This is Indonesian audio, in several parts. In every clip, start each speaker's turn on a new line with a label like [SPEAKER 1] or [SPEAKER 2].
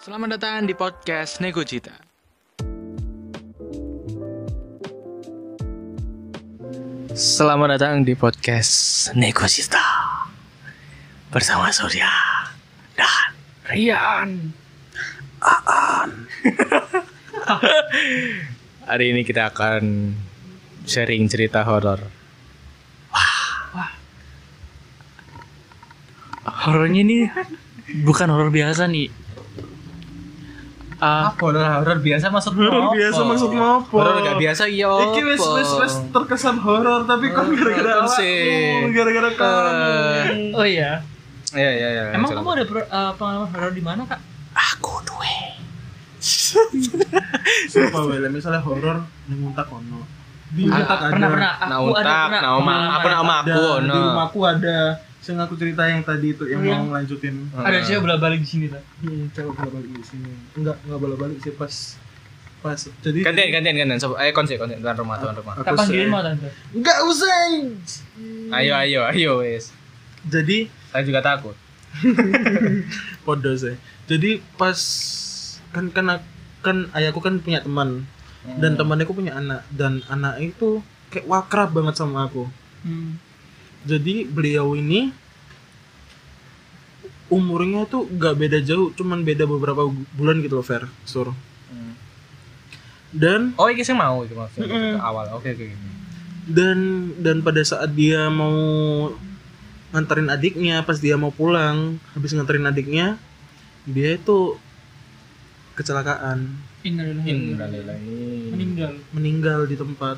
[SPEAKER 1] Selamat datang di podcast Nego Cita. Selamat datang di podcast Nego Cita bersama Surya dan Rian. Aan. Hari ini kita akan sharing cerita horor.
[SPEAKER 2] horornya ini bukan horor biasa nih. Ah,
[SPEAKER 1] horor horor biasa maksud
[SPEAKER 3] Horor biasa maksudnya apa?
[SPEAKER 1] Horor gak biasa iya.
[SPEAKER 3] Iki wis wis wis terkesan horor tapi kok
[SPEAKER 1] Horor
[SPEAKER 3] gara-gara awakmu,
[SPEAKER 1] sih.
[SPEAKER 3] gara-gara kamu.
[SPEAKER 2] Eh. oh iya.
[SPEAKER 1] Iya iya iya.
[SPEAKER 2] Emang
[SPEAKER 1] silakan.
[SPEAKER 2] kamu ada per- eh, pengalaman horor di mana, Kak?
[SPEAKER 1] aku eh. duwe
[SPEAKER 3] Sumpah wele misalnya horor ning untak ono. Di
[SPEAKER 1] Ah,
[SPEAKER 3] untak Iya, ada.
[SPEAKER 2] Pernah, pernah.
[SPEAKER 1] nah
[SPEAKER 2] Aku ada
[SPEAKER 1] utak
[SPEAKER 2] pernah
[SPEAKER 1] nah oma
[SPEAKER 2] pengalaman.
[SPEAKER 1] apa nama
[SPEAKER 3] Ada,
[SPEAKER 1] aku
[SPEAKER 3] di
[SPEAKER 1] no
[SPEAKER 3] rumahku ada. Sing aku cerita yang tadi itu yang
[SPEAKER 2] Iya.
[SPEAKER 3] mau lanjutin.
[SPEAKER 2] Ada cewek bolak balik di sini, Kak.
[SPEAKER 3] Hmm, coba bola balik di sini. Enggak, enggak bola balik sih pas pas jadi
[SPEAKER 1] gantian gantian gantian Sob- ayo konsep konsep tuan rumah tuan rumah
[SPEAKER 3] Aku
[SPEAKER 2] Kak panggilin
[SPEAKER 3] se-
[SPEAKER 2] mau tante.
[SPEAKER 3] Enggak usah.
[SPEAKER 1] ayo ayo ayo wes
[SPEAKER 3] Jadi
[SPEAKER 1] saya juga takut
[SPEAKER 3] podo sih jadi pas kan kan kan ayahku kan punya teman dan temannya aku punya anak dan anak itu kayak wakrab banget sama aku
[SPEAKER 2] Hmm.
[SPEAKER 3] jadi beliau ini umurnya tuh gak beda jauh cuman beda beberapa bu- bulan gitu loh Fer sur
[SPEAKER 1] Hmm.
[SPEAKER 3] dan
[SPEAKER 1] oh iki sing mau iki maksudnya
[SPEAKER 3] Mm-mm. Hmm.
[SPEAKER 1] ke awal oke oke
[SPEAKER 3] dan dan pada saat dia mau nganterin adiknya pas dia mau pulang habis nganterin adiknya dia itu kecelakaan
[SPEAKER 2] Innalillahi wa inna ilaihi raji'un.
[SPEAKER 1] Innalillahi
[SPEAKER 2] Meninggal.
[SPEAKER 3] meninggal di tempat.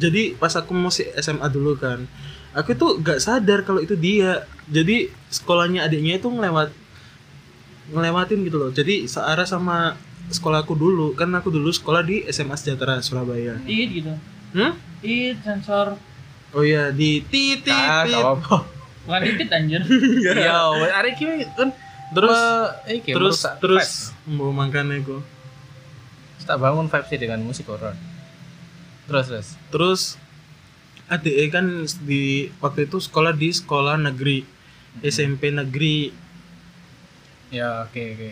[SPEAKER 3] Jadi pas aku masih SMA dulu kan, aku tuh gak sadar kalau itu dia. Jadi sekolahnya adiknya itu ngelewat ngelewatin gitu loh. Jadi searah sama sekolahku dulu, kan aku dulu sekolah di SMA Sejahtera Surabaya.
[SPEAKER 2] Ih gitu.
[SPEAKER 3] Hmm?
[SPEAKER 2] Ih sensor
[SPEAKER 3] Oh iya di titik.
[SPEAKER 1] Ah, gak apa-apa.
[SPEAKER 2] bukan titik anjir.
[SPEAKER 1] Iya, wes arek iki kan
[SPEAKER 3] Terus
[SPEAKER 1] eh, iki
[SPEAKER 3] terus
[SPEAKER 1] merusak
[SPEAKER 3] terus
[SPEAKER 1] vibes.
[SPEAKER 3] mau makannya aku.
[SPEAKER 1] tak bangun vibes dengan musik horor. Terus terus.
[SPEAKER 3] Terus ADE kan di waktu itu sekolah di sekolah negeri SMP negeri
[SPEAKER 1] Ya, oke oke.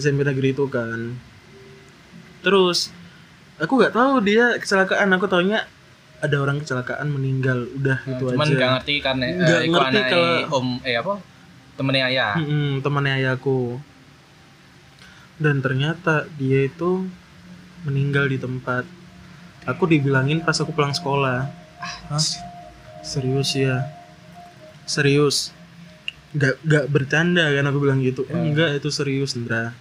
[SPEAKER 3] SMP negeri itu kan terus aku nggak tahu dia kecelakaan aku taunya ada orang kecelakaan meninggal udah
[SPEAKER 1] Nah,
[SPEAKER 3] gitu
[SPEAKER 1] Cuman
[SPEAKER 3] aja
[SPEAKER 1] gak ngerti karena eh,
[SPEAKER 3] Nggak
[SPEAKER 1] iku
[SPEAKER 3] ngerti
[SPEAKER 1] anake
[SPEAKER 3] kalau- Hmm,
[SPEAKER 1] om eh apa? Temennya ayah.
[SPEAKER 3] Mm-mm, temannya ayahku dan ternyata dia itu meninggal di tempat aku dibilangin pas aku pulang sekolah Hah? serius ya serius nggak nggak bercanda kan aku bilang gitu
[SPEAKER 1] Ya.
[SPEAKER 3] enggak itu serius Indra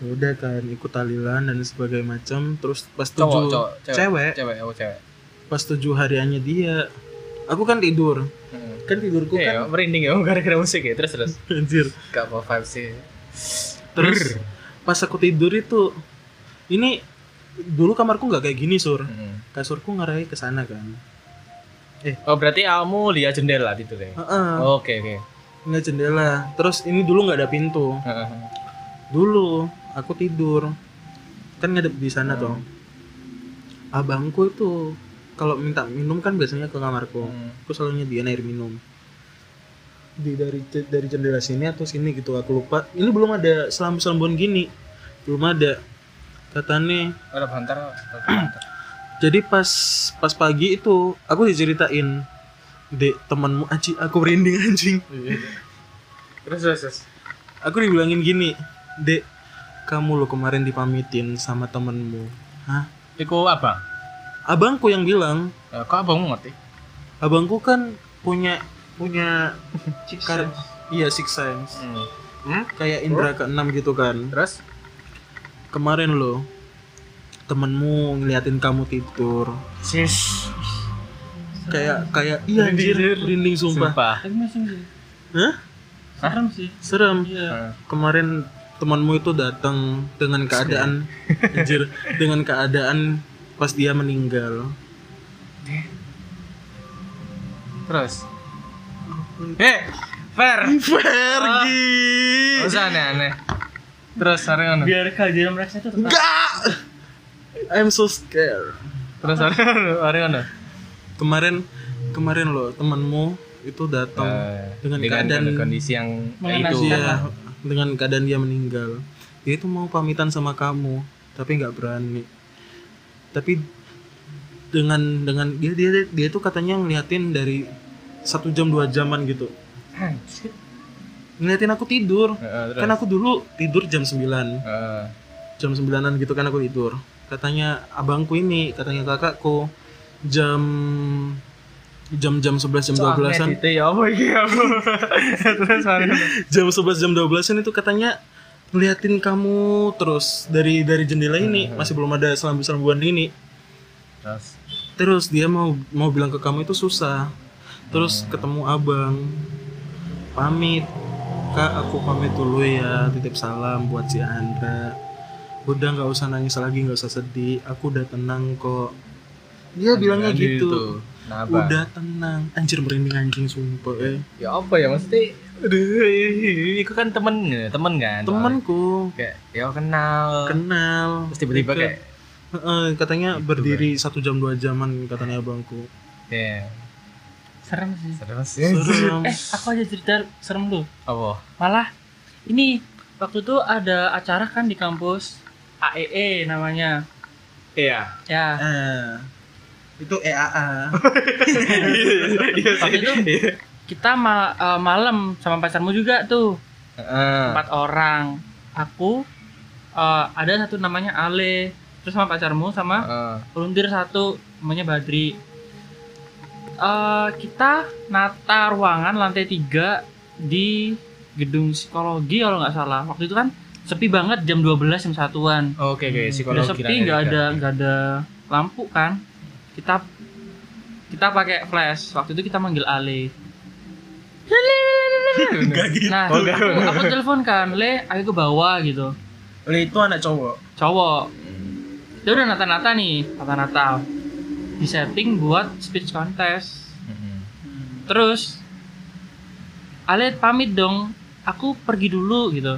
[SPEAKER 3] Ya udah kan ikut talilan dan sebagainya macam terus pas
[SPEAKER 1] Cowok,
[SPEAKER 3] tujuh
[SPEAKER 1] cowok, cewek.
[SPEAKER 3] cewek.
[SPEAKER 1] Cewek, oh cewek.
[SPEAKER 3] pas tujuh hariannya dia aku kan tidur
[SPEAKER 1] Heeh.
[SPEAKER 3] kan tidurku
[SPEAKER 1] Iya,
[SPEAKER 3] kan
[SPEAKER 1] merinding ya gara-gara musik ya. Terus terus.
[SPEAKER 3] anjir
[SPEAKER 1] Gak apa vibes sih.
[SPEAKER 3] Terus pas aku tidur itu ini dulu kamarku nggak kayak gini sur
[SPEAKER 1] Heeh.
[SPEAKER 3] kasurku ngarai ke sana kan
[SPEAKER 1] Mm-hmm. Oh, berarti kamu lihat jendela gitu deh.
[SPEAKER 3] Heeh,
[SPEAKER 1] Oke oke.
[SPEAKER 3] nggak jendela terus ini dulu nggak ada pintu
[SPEAKER 1] Heeh.
[SPEAKER 3] dulu aku tidur kan ngadep di sana
[SPEAKER 1] Hmm.
[SPEAKER 3] toh abangku itu kalau minta minum kan biasanya ke kamarku
[SPEAKER 1] Hmm.
[SPEAKER 3] aku selalu nyediain air minum di dari dari jendela sini atau sini gitu aku lupa ini belum ada selambu selambun gini belum ada katanya
[SPEAKER 1] Ada bantar. ada bantar.
[SPEAKER 3] jadi pas pas pagi itu aku diceritain dek temanmu anjing aku merinding anjing
[SPEAKER 1] Iya, Terus terus. terus.
[SPEAKER 3] aku dibilangin gini dek kamu lo kemarin dipamitin sama temenmu hah
[SPEAKER 1] Iku abang.
[SPEAKER 3] abangku yang bilang
[SPEAKER 1] Eh, Kok abangmu ngerti?
[SPEAKER 3] abangku kan punya punya
[SPEAKER 2] Siksa.
[SPEAKER 3] kar- iya six sense
[SPEAKER 1] Hmm.
[SPEAKER 3] kayak indra keenam gitu kan
[SPEAKER 1] Terus
[SPEAKER 3] kemarin lo temenmu ngeliatin kamu tidur
[SPEAKER 1] sis
[SPEAKER 3] kayak kayak iya anjir merinding sumpah
[SPEAKER 1] sumpah.
[SPEAKER 2] Tapi masih sih.
[SPEAKER 3] Hah?
[SPEAKER 2] Serem sih.
[SPEAKER 3] serem
[SPEAKER 2] Iya.
[SPEAKER 3] kemarin temanmu itu datang dengan keadaan anjir dengan keadaan pas dia meninggal
[SPEAKER 1] Terus. Eh, fair.
[SPEAKER 3] pergi
[SPEAKER 1] Gak usah aneh-aneh. Terus hari mana?
[SPEAKER 2] Biar kehadiran mereka itu tetap
[SPEAKER 3] enggak I'm so scared
[SPEAKER 1] Terus hari mana? Hari mana?
[SPEAKER 3] kemarin kemarin loh temanmu itu datang Eh, dengan keadaan
[SPEAKER 1] Eh, kondisi yang
[SPEAKER 2] Mengenaskan.
[SPEAKER 1] itu.
[SPEAKER 3] dia Iya, dengan keadaan dia meninggal dia itu mau pamitan sama kamu tapi nggak berani tapi dengan dengan dia dia dia itu katanya ngeliatin dari satu jam dua jaman gitu
[SPEAKER 1] Anjir.
[SPEAKER 3] ngeliatin aku tidur
[SPEAKER 1] Heeh, terus.
[SPEAKER 3] kan aku dulu tidur jam 9
[SPEAKER 1] Heeh.
[SPEAKER 3] jam 9an gitu kan aku tidur katanya abangku ini katanya kakakku jam jam jam 11 jam 12an
[SPEAKER 1] Itu ya apa iki aku. Terus mana?
[SPEAKER 3] jam 11 jam 12-an itu katanya ngeliatin kamu terus dari dari jendela ini
[SPEAKER 1] Hmm.
[SPEAKER 3] masih belum ada selambu-selambuan ini
[SPEAKER 1] Terus.
[SPEAKER 3] terus dia mau mau bilang ke kamu itu susah
[SPEAKER 1] Hmm.
[SPEAKER 3] terus ketemu abang pamit kak aku pamit dulu ya titip salam buat si Andra udah nggak usah nangis lagi nggak usah sedih aku udah tenang kok dia bilangnya
[SPEAKER 1] Anjir,
[SPEAKER 3] gitu
[SPEAKER 1] tuh. Nah, apa?
[SPEAKER 3] udah tenang anjir merinding anjing sumpah eh
[SPEAKER 1] Ya apa ya maksudnya? Aduh, itu kan temen, temen kan?
[SPEAKER 3] temanku
[SPEAKER 1] Soalnya kayak ya kenal.
[SPEAKER 3] kenal
[SPEAKER 1] Terus tiba-tiba
[SPEAKER 3] deket.
[SPEAKER 1] kayak
[SPEAKER 3] Heeh, katanya berdiri satu jam dua jaman katanya abangku.
[SPEAKER 1] ya
[SPEAKER 2] serem sih
[SPEAKER 1] serem sih.
[SPEAKER 3] Serem.
[SPEAKER 2] eh aku aja cerita serem lu
[SPEAKER 1] Apa?
[SPEAKER 2] malah ini waktu itu ada acara kan di kampus AEE namanya
[SPEAKER 1] Iya.
[SPEAKER 2] ya
[SPEAKER 3] Eh, itu E EAA. Iya,
[SPEAKER 2] waktu itu kita ma- eh, malam sama pacarmu juga tuh
[SPEAKER 1] Heeh.
[SPEAKER 2] empat orang aku eh, ada satu namanya Ale terus sama pacarmu sama
[SPEAKER 1] Heeh.
[SPEAKER 2] volunteer satu namanya Badri Eh, kita nata ruangan lantai tiga di gedung psikologi kalau nggak salah waktu itu kan sepi banget jam 12 jam satuan
[SPEAKER 1] Oke, oke, psikologi.
[SPEAKER 2] ya, udah sepi nggak ada nggak ada lampu kan kita kita pakai flash waktu itu kita manggil Ale
[SPEAKER 3] Enggak gitu.
[SPEAKER 2] nah
[SPEAKER 1] Oh, nggak.
[SPEAKER 2] aku, aku telepon kan Le ayo ke bawah gitu
[SPEAKER 3] Oleh itu anak cowok.
[SPEAKER 2] cowok dia udah nata-nata nih nata-nata di setting buat speech contest
[SPEAKER 1] Heeh.
[SPEAKER 2] terus Ale pamit dong aku pergi dulu gitu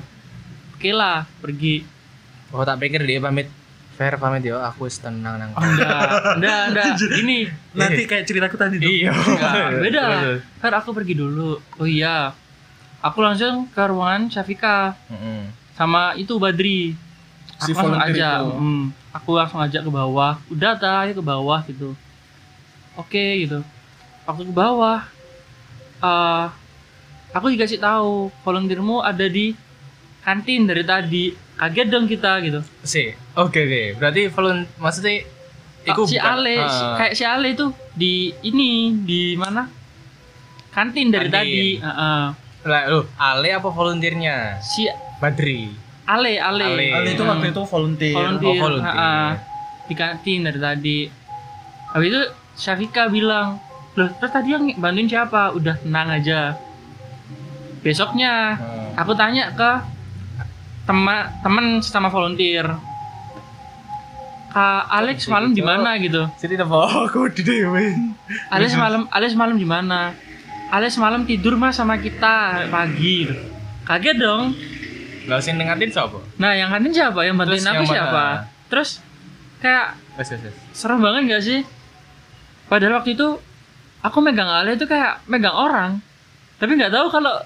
[SPEAKER 2] oke lah pergi
[SPEAKER 1] Oh, tak pikir dia pamit. Fair pamit yo, aku wis tenang nang.
[SPEAKER 2] Oh, enggak enggak enggak gini
[SPEAKER 3] Nanti kayak ceritaku tadi tuh.
[SPEAKER 1] Iya.
[SPEAKER 2] enggak beda Fer aku pergi dulu oh iya aku langsung ke ruangan Syafika
[SPEAKER 1] Heeh.
[SPEAKER 2] sama itu Badri aku
[SPEAKER 3] Si
[SPEAKER 2] langsung
[SPEAKER 3] volunteer
[SPEAKER 2] ajak
[SPEAKER 3] itu.
[SPEAKER 2] mm, aku langsung ajak ke bawah udah tay ke bawah gitu oke gitu waktu ke bawah eh aku dikasih tahu volunteermu ada di kantin dari tadi kaget dong kita gitu
[SPEAKER 1] Si. Oke, oke. Berarti volun maksudnya iku
[SPEAKER 2] si
[SPEAKER 1] bukan-
[SPEAKER 2] Ale si-
[SPEAKER 1] Ah.
[SPEAKER 2] kayak si Ale tuh di ini di mana kantin dari
[SPEAKER 1] Kantin.
[SPEAKER 2] tadi Heeh.
[SPEAKER 1] Lah, lu Ale apa volunteernya?
[SPEAKER 2] si
[SPEAKER 1] Badri.
[SPEAKER 2] Ale Ale
[SPEAKER 1] Ale. Ale itu waktu
[SPEAKER 3] itu volunteer.
[SPEAKER 2] volunteer,
[SPEAKER 1] Oh, volunteer.
[SPEAKER 2] ha-ha. di kantin dari tadi habis itu Syafika bilang loh terus tadi yang bantuin siapa udah tenang aja besoknya
[SPEAKER 1] Heeh.
[SPEAKER 2] aku tanya ke teman teman sesama volunteer Kak Alex
[SPEAKER 1] Jadi
[SPEAKER 2] malam di
[SPEAKER 1] itu-
[SPEAKER 2] mana gitu
[SPEAKER 1] Jadi apa aku di dewe.
[SPEAKER 2] Alex malam Alex malam di mana Alex malam tidur mas sama kita pagi gitu. kaget dong
[SPEAKER 1] Lah sing nengatin sapa?
[SPEAKER 2] nah yang kantin siapa yang bantuin
[SPEAKER 1] Terus
[SPEAKER 2] aku
[SPEAKER 1] yang mana?
[SPEAKER 2] siapa terus kayak
[SPEAKER 1] Wes, wes, wes.
[SPEAKER 2] serem banget gak sih? Padahal waktu itu aku megang Ale itu kayak megang orang, tapi nggak tahu kalau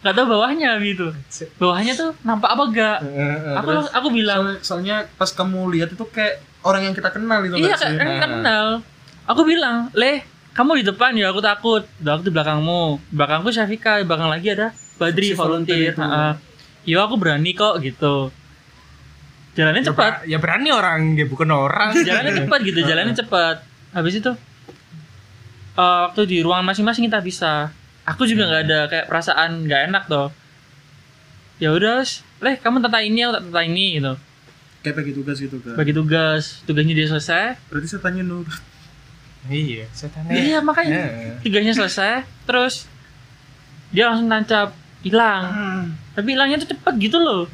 [SPEAKER 2] nggak tahu bawahnya gitu. Bawahnya tuh nampak apa gak? Aku
[SPEAKER 1] Nah, Terus?
[SPEAKER 2] aku bilang
[SPEAKER 3] Soalnya pas kamu lihat itu kayak orang yang kita kenal gitu
[SPEAKER 2] iya
[SPEAKER 3] nggak sih?
[SPEAKER 2] kan kan kenal. Aku bilang leh kamu di depan ya aku takut. Udah aku di belakangmu, Di belakangku Syafika, di belakang lagi ada Badri
[SPEAKER 3] Si volunteer
[SPEAKER 2] volunteer.
[SPEAKER 3] itu.
[SPEAKER 2] Heeh. Yo aku berani kok gitu.
[SPEAKER 1] Ya,
[SPEAKER 2] Jalannya cepat.
[SPEAKER 1] ber- Ya berani orang, ya bukan orang.
[SPEAKER 2] jalannya cepat gitu jalannya cepat habis itu eh, waktu di ruangan masing-masing kita bisa aku juga nggak ada kayak perasaan nggak enak tuh ya udah wes. leh kamu tata ini aku tata ini gitu
[SPEAKER 3] Kayak bagi tugas gitu kan.
[SPEAKER 2] bagi tugas tugasnya dia selesai
[SPEAKER 3] Berarti saya tanya Nur.
[SPEAKER 1] Iya, setan.
[SPEAKER 2] iya makanya
[SPEAKER 1] Heeh.
[SPEAKER 2] tugasnya selesai terus dia langsung tancap hilang tapi hilangnya tuh cepet gitu loh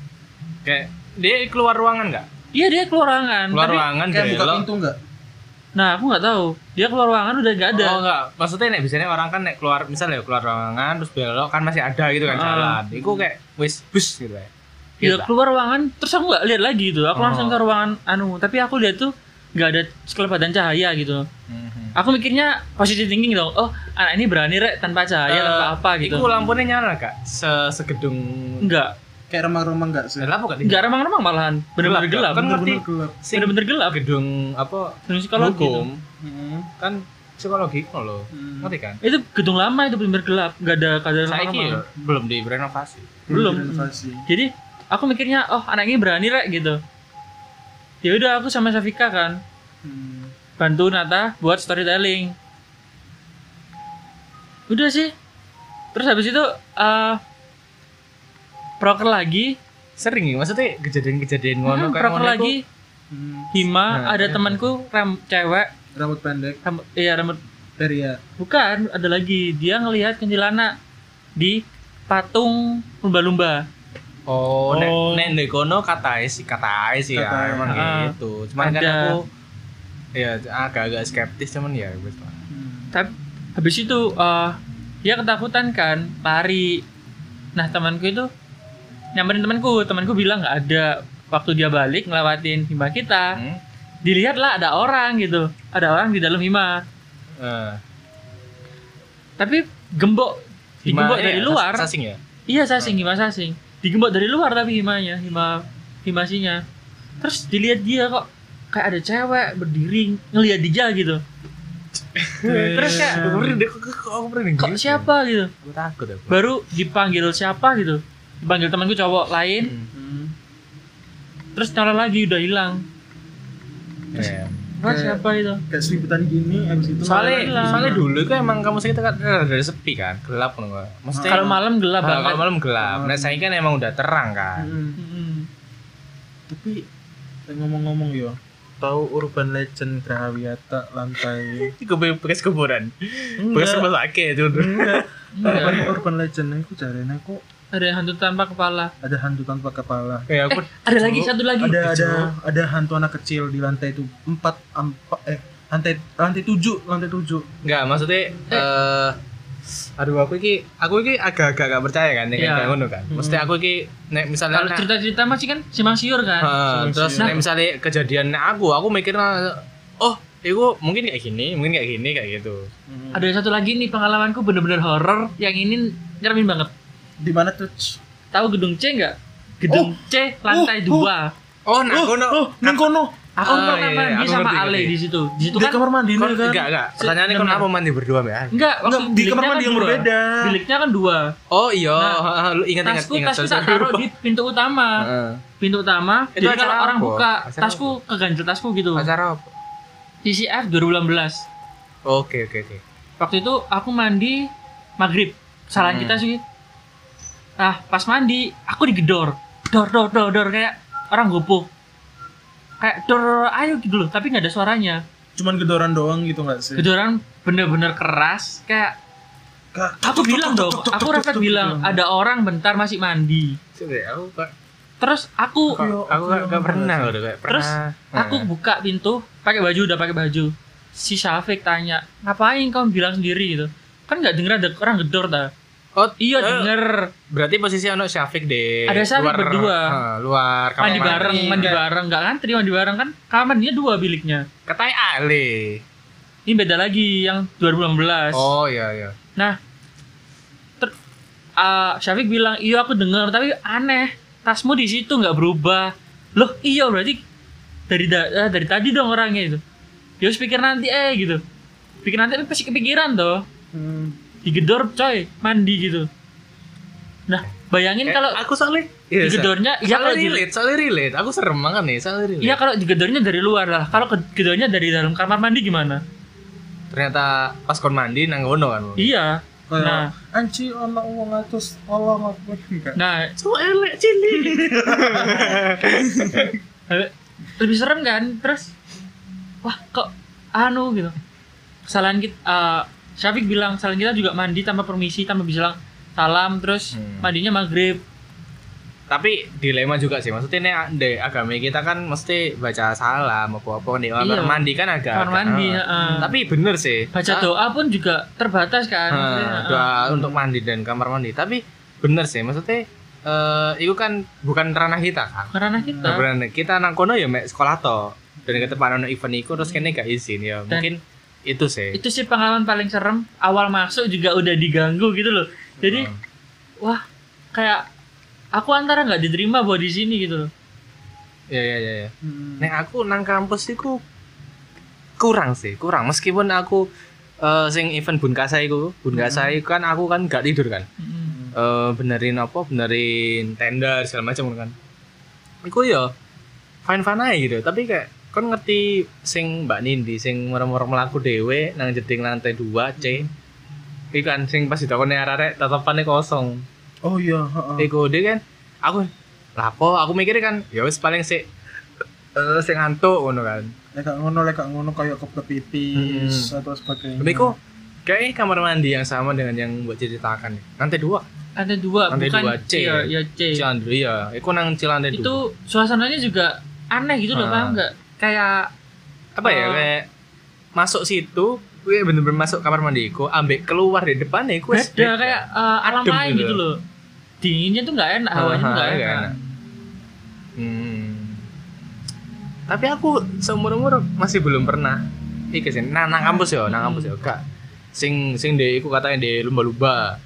[SPEAKER 1] Kayak dia keluar ruangan nggak?
[SPEAKER 2] iya dia keluar ruangan
[SPEAKER 1] Keluar
[SPEAKER 2] tapi-
[SPEAKER 1] ruangan
[SPEAKER 3] Kayak buka
[SPEAKER 1] belok.
[SPEAKER 3] pintu enggak?
[SPEAKER 2] nah aku nggak tahu dia keluar ruangan udah nggak ada
[SPEAKER 1] Oh enggak, maksudnya nek biasanya orang kan nek keluar misalnya ya keluar ruangan terus belok kan masih ada gitu kan
[SPEAKER 2] Ah.
[SPEAKER 1] jalan. Iku kayak wis bus gitu ya.
[SPEAKER 2] Ya,
[SPEAKER 1] Gitu lah.
[SPEAKER 2] keluar ruangan terus aku nggak lihat lagi itu aku
[SPEAKER 1] Oh.
[SPEAKER 2] langsung ke ruangan anu tapi aku lihat tuh nggak ada sekelebatan cahaya gitu
[SPEAKER 1] Mhm.
[SPEAKER 2] aku mikirnya positive thinking dong oh anak ini berani rek tanpa cahaya
[SPEAKER 1] Eh,
[SPEAKER 2] tanpa apa gitu
[SPEAKER 1] Iku lampunya nyala kak? Se segedung
[SPEAKER 2] nggak
[SPEAKER 3] kayak remang-remang nggak sih?
[SPEAKER 1] Gelap bukan?
[SPEAKER 2] Enggak remang-remang malahan. Bener-bener
[SPEAKER 1] Gelap,
[SPEAKER 2] gelap.
[SPEAKER 1] kan?
[SPEAKER 3] Bener-bener gelap.
[SPEAKER 1] Sing
[SPEAKER 2] Bener-bener gelap.
[SPEAKER 1] gedung apa?
[SPEAKER 2] Gedung psikologi.
[SPEAKER 1] hukum
[SPEAKER 2] itu.
[SPEAKER 3] Hmm.
[SPEAKER 1] kan psikologi no loh.
[SPEAKER 3] Hmm.
[SPEAKER 1] Ngerti kan?
[SPEAKER 2] gitu, Itu gedung lama itu bener-bener gelap. Enggak ada kadar
[SPEAKER 1] Saiki ya
[SPEAKER 2] remang-remang.
[SPEAKER 1] belum direnovasi.
[SPEAKER 2] Belum.
[SPEAKER 3] Renovasi.
[SPEAKER 2] Jadi aku mikirnya, oh anak ini berani rek gitu. Ya udah aku sama Safika kan
[SPEAKER 3] Hmm.
[SPEAKER 2] bantu Nata buat storytelling. Udah sih. Terus habis itu eh proker lagi,
[SPEAKER 1] Sering ya maksudnya kejadian-kejadian ngono
[SPEAKER 2] hmm,
[SPEAKER 1] kayak
[SPEAKER 2] proker
[SPEAKER 1] ngono iku
[SPEAKER 2] lagi.
[SPEAKER 3] Hmm.
[SPEAKER 2] Hima
[SPEAKER 1] Nah,
[SPEAKER 2] ada
[SPEAKER 1] iya.
[SPEAKER 2] temanku rem cewek,
[SPEAKER 3] Rambut pendek. ya?
[SPEAKER 2] rambut, iya rambut
[SPEAKER 3] Peria.
[SPEAKER 2] bukan ada lagi dia ngelihat kuntilanak di patung lumba-lumba.
[SPEAKER 1] Oh, nek
[SPEAKER 2] Oh.
[SPEAKER 1] nek ndek kono katae sih, katae sih ya
[SPEAKER 3] Katae.
[SPEAKER 1] emang
[SPEAKER 2] Ah.
[SPEAKER 1] gitu. Cuman kan
[SPEAKER 2] Ada.
[SPEAKER 1] aku ya agak-agak skeptis cuman ya wis lah.
[SPEAKER 3] Hmm.
[SPEAKER 2] Tapi habis itu eh, dia ketakutan kan, lari. Nah temanku itu nyamperin temanku, temanku bilang nggak ada. Waktu dia balik ngelewatin hima kita,
[SPEAKER 1] Hmm?
[SPEAKER 2] dilihatlah ada orang gitu, ada orang di dalam hima.
[SPEAKER 1] Eh,
[SPEAKER 2] Tapi gembok, digembok
[SPEAKER 1] gimana
[SPEAKER 2] dari
[SPEAKER 1] ya?
[SPEAKER 2] luar.
[SPEAKER 1] Sas- Sasing ya?
[SPEAKER 2] Iya sasing, hima sasing. Digembok dari luar tapi himanya, hima himasinya. Terus dilihat dia kok kayak ada cewek berdiri ngelihat dia gitu.
[SPEAKER 1] Terus kayak
[SPEAKER 3] Hmm.
[SPEAKER 1] aku merinding, kok kok- kok aku merinding.
[SPEAKER 2] Kok
[SPEAKER 1] gitu?
[SPEAKER 2] siapa gitu?
[SPEAKER 1] Aku takut aku.
[SPEAKER 2] Baru dipanggil siapa gitu. Dipanggil temanku cowok lain,
[SPEAKER 1] Hmm.
[SPEAKER 3] Hmm.
[SPEAKER 2] terus nyala lagi udah hilang.
[SPEAKER 1] Ya.
[SPEAKER 2] Wah,
[SPEAKER 3] Kayak-
[SPEAKER 2] siapa itu?
[SPEAKER 3] Kayak seliputan gini, abis itu
[SPEAKER 1] Soalnya,
[SPEAKER 2] Hilang.
[SPEAKER 1] soalnya dulu itu emang kamu kita kan dari sepi kan, gelap kan. Mbak? Maksudnya
[SPEAKER 2] Kalau malam
[SPEAKER 1] Ah,
[SPEAKER 2] gelap banget.
[SPEAKER 1] kalau malam gelap. Nah, saya kan emang udah terang kan.
[SPEAKER 3] Hmm.
[SPEAKER 2] Mm.
[SPEAKER 3] Tapi eh, ngomong-ngomong yo, tahu urban legend Grahawiata lantai
[SPEAKER 1] Iku bekas kuburan. Bekas
[SPEAKER 3] Enggak.
[SPEAKER 1] rumah sakit itu.
[SPEAKER 2] Hmm. Enggak.
[SPEAKER 3] urban, urban legend aku jarene aku
[SPEAKER 2] Ada yang hantu tanpa kepala.
[SPEAKER 3] ada hantu tanpa kepala.
[SPEAKER 1] Kayak aku
[SPEAKER 2] Ada lagi satu lagi.
[SPEAKER 3] Oh, Ada ada ada hantu anak kecil di lantai itu empat empat eh lantai lantai tujuh lantai tujuh.
[SPEAKER 1] Enggak, maksudnya eh aduh aku iki aku iki agak-agak gak percaya kan nek
[SPEAKER 2] Iya.
[SPEAKER 1] kayak ngono kan. Mesti aku iki nek misalnya
[SPEAKER 2] Kalau
[SPEAKER 1] nek-
[SPEAKER 2] cerita-cerita masih kan simang siur kan.
[SPEAKER 1] Heeh,
[SPEAKER 3] Siang-siang.
[SPEAKER 1] terus nek misalnya kejadian nek aku, aku mikir oh, itu mungkin kayak gini, mungkin kayak gini kayak gitu.
[SPEAKER 2] Ada satu lagi nih pengalamanku bener-bener horor yang ini nyermin banget.
[SPEAKER 3] Di mana tuh?
[SPEAKER 2] Tahu gedung C nggak? Gedung C lantai
[SPEAKER 3] Oh,
[SPEAKER 2] dua. Eh,
[SPEAKER 1] Oh, nah aku
[SPEAKER 3] Oh, ning kono.
[SPEAKER 2] Aku
[SPEAKER 1] Ah,
[SPEAKER 2] pernah
[SPEAKER 1] iya,
[SPEAKER 2] mandi
[SPEAKER 1] aku
[SPEAKER 2] sama
[SPEAKER 1] ngerti,
[SPEAKER 2] Ale
[SPEAKER 1] ngerti.
[SPEAKER 2] di situ. Di situ
[SPEAKER 3] Di
[SPEAKER 2] kan
[SPEAKER 3] kamar mandi
[SPEAKER 1] Kon,
[SPEAKER 3] ini kan.
[SPEAKER 1] enggak, enggak. Pertanyaannya kon
[SPEAKER 2] Bener.
[SPEAKER 1] apa mandi berdua ya?
[SPEAKER 2] enggak waktu
[SPEAKER 3] Enggak, di
[SPEAKER 2] biliknya
[SPEAKER 3] kamar
[SPEAKER 2] kan
[SPEAKER 3] mandi yang
[SPEAKER 2] dua.
[SPEAKER 3] berbeda.
[SPEAKER 2] Biliknya kan dua.
[SPEAKER 1] Oh, iya.
[SPEAKER 2] Nah,
[SPEAKER 1] Heeh, lu ingat-ingat
[SPEAKER 2] Tasku tasku tak taruh di pintu utama.
[SPEAKER 1] Heeh.
[SPEAKER 2] Pintu utama.
[SPEAKER 1] Itu
[SPEAKER 2] jadi
[SPEAKER 1] acara
[SPEAKER 2] kalau orang
[SPEAKER 1] apa?
[SPEAKER 2] buka
[SPEAKER 1] Acara
[SPEAKER 2] tasku keganjel tasku gitu.
[SPEAKER 1] Acara apa?
[SPEAKER 2] TCF 2018.
[SPEAKER 1] Oke, oke, oke.
[SPEAKER 2] Waktu itu aku mandi maghrib.
[SPEAKER 1] Hmm.
[SPEAKER 2] Kesalahan kita sih. Nah, pas mandi aku digedor. Dor dor dor dor kayak orang gopoh. Kayak dor ayo gitu loh, tapi nggak ada suaranya.
[SPEAKER 3] Cuman gedoran doang gitu enggak sih?
[SPEAKER 2] Gedoran bener-bener keras kayak
[SPEAKER 3] Kak,
[SPEAKER 2] aku bilang dong, aku refleks bilang ada orang bentar masih mandi.
[SPEAKER 1] Coba aku kok
[SPEAKER 2] Terus aku
[SPEAKER 3] Kok-
[SPEAKER 1] aku gak, gak pernah loh kayak pernah.
[SPEAKER 2] Terus, aku
[SPEAKER 1] Nah.
[SPEAKER 2] buka pintu, pakai baju udah pakai baju. Si Syafiq tanya, "Ngapain kamu bilang sendiri gitu?" Kan nggak denger ada orang gedor ta.
[SPEAKER 1] oh
[SPEAKER 2] Iya
[SPEAKER 1] eh,
[SPEAKER 2] denger.
[SPEAKER 1] berarti posisi anak Syafiq deh.
[SPEAKER 2] Ada Syafiq berdua.
[SPEAKER 1] eh, luar kamar
[SPEAKER 2] Mandi bareng,
[SPEAKER 1] mandi.
[SPEAKER 2] mandi bareng, nggak ngantri mandi bareng kan? Kamarnya dua biliknya.
[SPEAKER 1] Katai Ale.
[SPEAKER 2] Ini beda lagi yang 2016.
[SPEAKER 1] Oh iya iya.
[SPEAKER 2] Nah, ter- ah, Syafiq bilang, iya aku dengar, tapi aneh. Tasmu di situ nggak berubah. Loh, iya berarti dari da- eh, dari tadi dong orangnya itu. Dia harus pikir nanti eh gitu. Pikir nanti tapi pasti kepikiran toh.
[SPEAKER 3] Hmm.
[SPEAKER 2] Digedor coy, mandi gitu. Nah,
[SPEAKER 1] Eh,
[SPEAKER 2] bayangin kalau
[SPEAKER 1] aku soalnya iya, soalnya-
[SPEAKER 2] digedornya, iya kalau
[SPEAKER 1] soalnya
[SPEAKER 2] di-
[SPEAKER 1] relate, soalnya relate. Aku serem banget nih, soalnya relate.
[SPEAKER 2] iya kalau digedornya dari luar lah. Kalau ke- gedornya dari dalam kamar mandi gimana?
[SPEAKER 1] Ternyata pas kon mandi nang ngono kan.
[SPEAKER 2] Iya.
[SPEAKER 3] Kayak,
[SPEAKER 2] Nah.
[SPEAKER 3] anci ana wong atus Allah aku enggak.
[SPEAKER 2] Nah,
[SPEAKER 1] So elek cilik.
[SPEAKER 2] Eh, lebih serem kan terus wah kok anu gitu kesalahan kita eh, Syafiq bilang kesalahan kita juga mandi tanpa permisi tanpa bilang salam terus
[SPEAKER 1] Hmm.
[SPEAKER 2] mandinya maghrib
[SPEAKER 1] Tapi dilema juga sih. Maksudnya nih de agama kita kan mesti baca salam apa-apa di kamar
[SPEAKER 2] Iya.
[SPEAKER 1] mandi kan agak
[SPEAKER 2] kamar mandi
[SPEAKER 1] eh.
[SPEAKER 2] heeh.
[SPEAKER 1] Tapi bener sih.
[SPEAKER 2] baca
[SPEAKER 1] Ah,
[SPEAKER 2] doa pun juga terbatas kan maksudnya,
[SPEAKER 1] Nah,
[SPEAKER 2] heeh.
[SPEAKER 1] doa untuk mandi dan kamar mandi. Tapi bener sih, maksudnya eh itu kan bukan ranah kita kan.
[SPEAKER 2] karena kita
[SPEAKER 1] Nah, bener. kita nang kono ya mek sekolah to. Dan ketepan ono event iku terus kene gak izin ya. Mungkin itu sih.
[SPEAKER 2] itu sih pengalaman paling serem awal masuk juga udah diganggu gitu loh jadi
[SPEAKER 1] Hmm.
[SPEAKER 2] wah kayak aku antara nggak diterima buat di sini gitu loh
[SPEAKER 1] ya ya ya, ya. Nek aku nang kampus iku kurang sih, kurang. Meskipun aku eh, sing event Bunkasa iku, Bunkasa
[SPEAKER 2] Hmm.
[SPEAKER 1] iku kan aku kan gak tidur kan.
[SPEAKER 2] Mm-mm.
[SPEAKER 1] Eh, benerin apa? Benerin tender segala macam kan. Iku ya fine fine aja gitu, tapi kayak kan ngerti sing Mbak Nindi sing merem-merem melaku dhewe nang jeding lantai 2 C. Iku kan sing pas ditakoni arek-arek tatapannya kosong.
[SPEAKER 3] oh iya heeh.
[SPEAKER 1] Iku dia kan aku lapo aku mikirnya kan ya wis paling sik eh sing ngantuk ngono kan.
[SPEAKER 3] lek gak ngono lek gak ngono kayak kebelet pipis
[SPEAKER 1] Hmm.
[SPEAKER 3] atau sebagainya
[SPEAKER 1] Tapi kok kayaknya kamar mandi yang sama dengan yang buat ceritakan ya. Lantai dua.
[SPEAKER 2] ada dua
[SPEAKER 1] Lantai
[SPEAKER 2] bukan
[SPEAKER 1] dua C.
[SPEAKER 2] ya, ya C
[SPEAKER 1] Cilandu ya. Iku nang Cilandu
[SPEAKER 2] itu suasananya juga aneh gitu loh
[SPEAKER 1] Ah.
[SPEAKER 2] paham nggak kayak
[SPEAKER 1] apa ya
[SPEAKER 2] eh,
[SPEAKER 1] kayak masuk situ, gue bener-bener masuk kamar mandi iku, ambek keluar di depan ya, gue
[SPEAKER 2] beda kayak eh, alam
[SPEAKER 1] Adem
[SPEAKER 2] lain
[SPEAKER 1] gitu Ah, iya.
[SPEAKER 2] gitu loh dinginnya tuh nggak enak hawanya tuh nggak
[SPEAKER 1] Aha, nggak
[SPEAKER 2] enak,
[SPEAKER 1] enak. Hmm. Tapi aku seumur umur masih belum pernah. Iki sih, nah, nang kampus ya, nang kampus ya,
[SPEAKER 2] Hmm.
[SPEAKER 1] gak. Sing sing di iku katanya di lumba-lumba.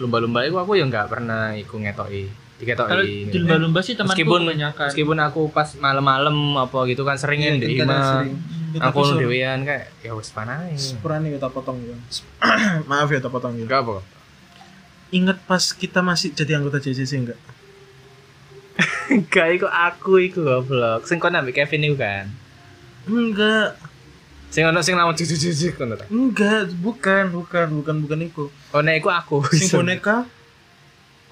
[SPEAKER 1] Lumba-lumba iku aku ya nggak pernah iku ngetoki. Diketoki.
[SPEAKER 2] kalau
[SPEAKER 1] gitu.
[SPEAKER 2] di lumba-lumba sih temanku
[SPEAKER 1] Meskipun-
[SPEAKER 2] kebanyakan
[SPEAKER 1] meskipun aku pas malam-malam apa gitu kan seringin
[SPEAKER 2] Iya,
[SPEAKER 1] di
[SPEAKER 3] Internet
[SPEAKER 1] imam
[SPEAKER 3] sering. Ya, tapi
[SPEAKER 1] aku
[SPEAKER 3] sur-
[SPEAKER 1] dewean kayak ya wis panai
[SPEAKER 3] sepurane ya tak potong ya maaf ya tak potong ya
[SPEAKER 1] enggak apa
[SPEAKER 3] inget pas kita masih jadi anggota JCC enggak
[SPEAKER 1] enggak iku aku iku goblok sing kon ambek Kevin iku kan
[SPEAKER 3] enggak
[SPEAKER 1] sing ono sing lawan cucu-cucu kono ta
[SPEAKER 3] enggak bukan bukan bukan bukan iku
[SPEAKER 1] oh nek iku aku
[SPEAKER 3] sing boneka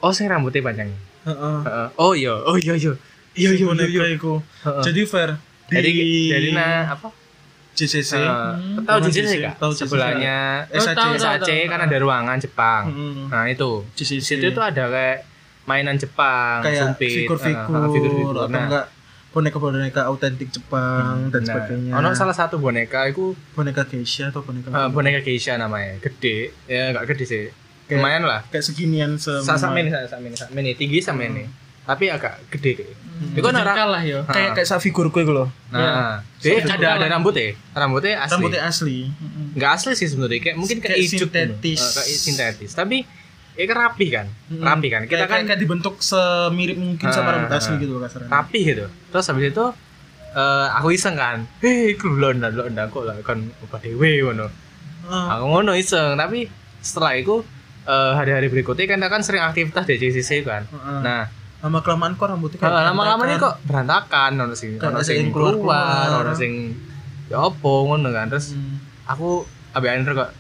[SPEAKER 1] oh sing rambutnya panjang
[SPEAKER 3] heeh
[SPEAKER 1] Heeh. oh iya oh iya iya iya
[SPEAKER 3] Sing
[SPEAKER 1] iya iya,
[SPEAKER 3] boneka
[SPEAKER 1] iya
[SPEAKER 3] iku
[SPEAKER 1] Heeh.
[SPEAKER 3] jadi fair
[SPEAKER 1] jadi
[SPEAKER 3] di
[SPEAKER 1] jadi nah apa
[SPEAKER 3] JCC
[SPEAKER 1] Heeh. tahu
[SPEAKER 2] Hmm.
[SPEAKER 3] Tahu
[SPEAKER 1] jujur
[SPEAKER 3] JCC,
[SPEAKER 1] sih kak
[SPEAKER 3] tahu JCC.
[SPEAKER 1] sebelahnya
[SPEAKER 2] Oh,
[SPEAKER 3] SAC
[SPEAKER 2] tahu, tahu.
[SPEAKER 1] SAC kan ada ruangan Jepang
[SPEAKER 3] Heeh.
[SPEAKER 1] nah itu
[SPEAKER 3] JCC
[SPEAKER 1] situ itu ada kayak mainan Jepang,
[SPEAKER 3] Iya. kayak
[SPEAKER 1] sumpit,
[SPEAKER 3] figur-figur
[SPEAKER 1] ah, ah, figur-figur.
[SPEAKER 3] atau
[SPEAKER 1] Nah,
[SPEAKER 3] enggak boneka-boneka autentik Jepang dan
[SPEAKER 1] nah,
[SPEAKER 3] sebagainya.
[SPEAKER 1] Ono salah Ah, satu boneka itu
[SPEAKER 3] boneka geisha atau boneka
[SPEAKER 1] boneka geisha namanya, gede, ya enggak gede sih.
[SPEAKER 3] Kayak-
[SPEAKER 1] Lumayan lah.
[SPEAKER 3] kayak seginian se
[SPEAKER 1] Sa- Sama ini, sa- sama ini, sama ini tinggi sama ini. Tapi agak gede.
[SPEAKER 2] Hmm,
[SPEAKER 1] Itu kan orang-
[SPEAKER 2] jengkal lah yo
[SPEAKER 3] kayak kayak sak figur gue loh.
[SPEAKER 1] Nah,
[SPEAKER 3] Iya.
[SPEAKER 1] dia
[SPEAKER 2] Sama
[SPEAKER 1] ada ada
[SPEAKER 2] kalah.
[SPEAKER 1] rambutnya, rambutnya asli.
[SPEAKER 3] kan
[SPEAKER 1] Hmm.
[SPEAKER 3] Rambutnya asli.
[SPEAKER 1] Enggak asli sih sebenarnya, kayak mungkin kayak
[SPEAKER 3] Kayak
[SPEAKER 1] ijuk gitu.
[SPEAKER 3] sintetis.
[SPEAKER 1] Eh, kayak sintetis. Tapi ya kan rapi kan,
[SPEAKER 3] Mm-mm.
[SPEAKER 1] rapi kan. Kita
[SPEAKER 3] Kayak,
[SPEAKER 1] kan
[SPEAKER 3] kayak, kayak dibentuk semirip mungkin sama
[SPEAKER 1] Ah.
[SPEAKER 3] rambut asli gitu loh kasarnya.
[SPEAKER 1] rapi gitu terus habis itu eh, aku iseng kan hei aku londa londa kok lah kan opa dewe ngono
[SPEAKER 3] Ah,
[SPEAKER 1] aku ngono iseng tapi setelah itu eh, hari-hari berikutnya kan kan sering aktivitas di JCC kan
[SPEAKER 3] Heeh.
[SPEAKER 1] nah
[SPEAKER 3] ah,
[SPEAKER 1] Ah,
[SPEAKER 3] lama kelamaan kok rambutnya kayak
[SPEAKER 1] lama-lama ini
[SPEAKER 3] berantakan.
[SPEAKER 1] kok berantakan ono sing
[SPEAKER 3] Kayak
[SPEAKER 1] ono
[SPEAKER 3] ada
[SPEAKER 1] sing
[SPEAKER 3] yang keluar-keluar.
[SPEAKER 1] keluar ono sing ya opo ngono kan terus
[SPEAKER 3] Hmm.
[SPEAKER 1] aku abis Andre kok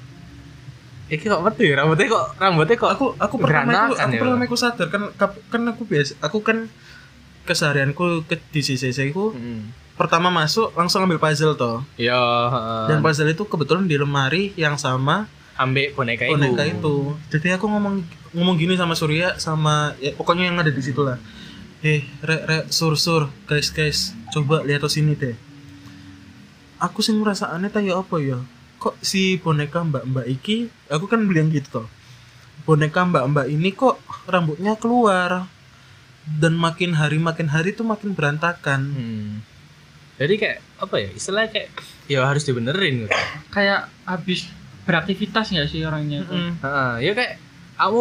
[SPEAKER 1] Iki kok mati rambutnya kok rambutnya kok
[SPEAKER 3] aku aku pertama aku,
[SPEAKER 1] Berantakan
[SPEAKER 3] aku
[SPEAKER 1] ya,
[SPEAKER 3] pertama
[SPEAKER 1] Bang.
[SPEAKER 3] aku sadar kan kap- kan aku biasa aku kan keseharianku ke di CCC ku
[SPEAKER 1] Mm.
[SPEAKER 3] pertama masuk langsung ambil puzzle toh
[SPEAKER 1] ya
[SPEAKER 3] dan puzzle itu kebetulan di lemari yang sama
[SPEAKER 1] ambek boneka itu
[SPEAKER 3] boneka itu jadi aku ngomong ngomong gini sama Surya sama ya, pokoknya yang ada di situ lah eh rek rek sur sur guys guys coba lihat tuh sini deh aku sih ngerasa aneh tanya apa ya kok si boneka mbak mbak iki aku kan beli yang gitu toh boneka mbak mbak ini kok rambutnya keluar dan makin hari makin hari tuh makin berantakan
[SPEAKER 1] Hmm. Jadi kayak apa ya istilahnya kayak ya harus dibenerin gitu.
[SPEAKER 2] kayak habis beraktivitas nggak sih orangnya tuh?
[SPEAKER 3] Mm-mm.
[SPEAKER 1] Heeh, ya kayak kamu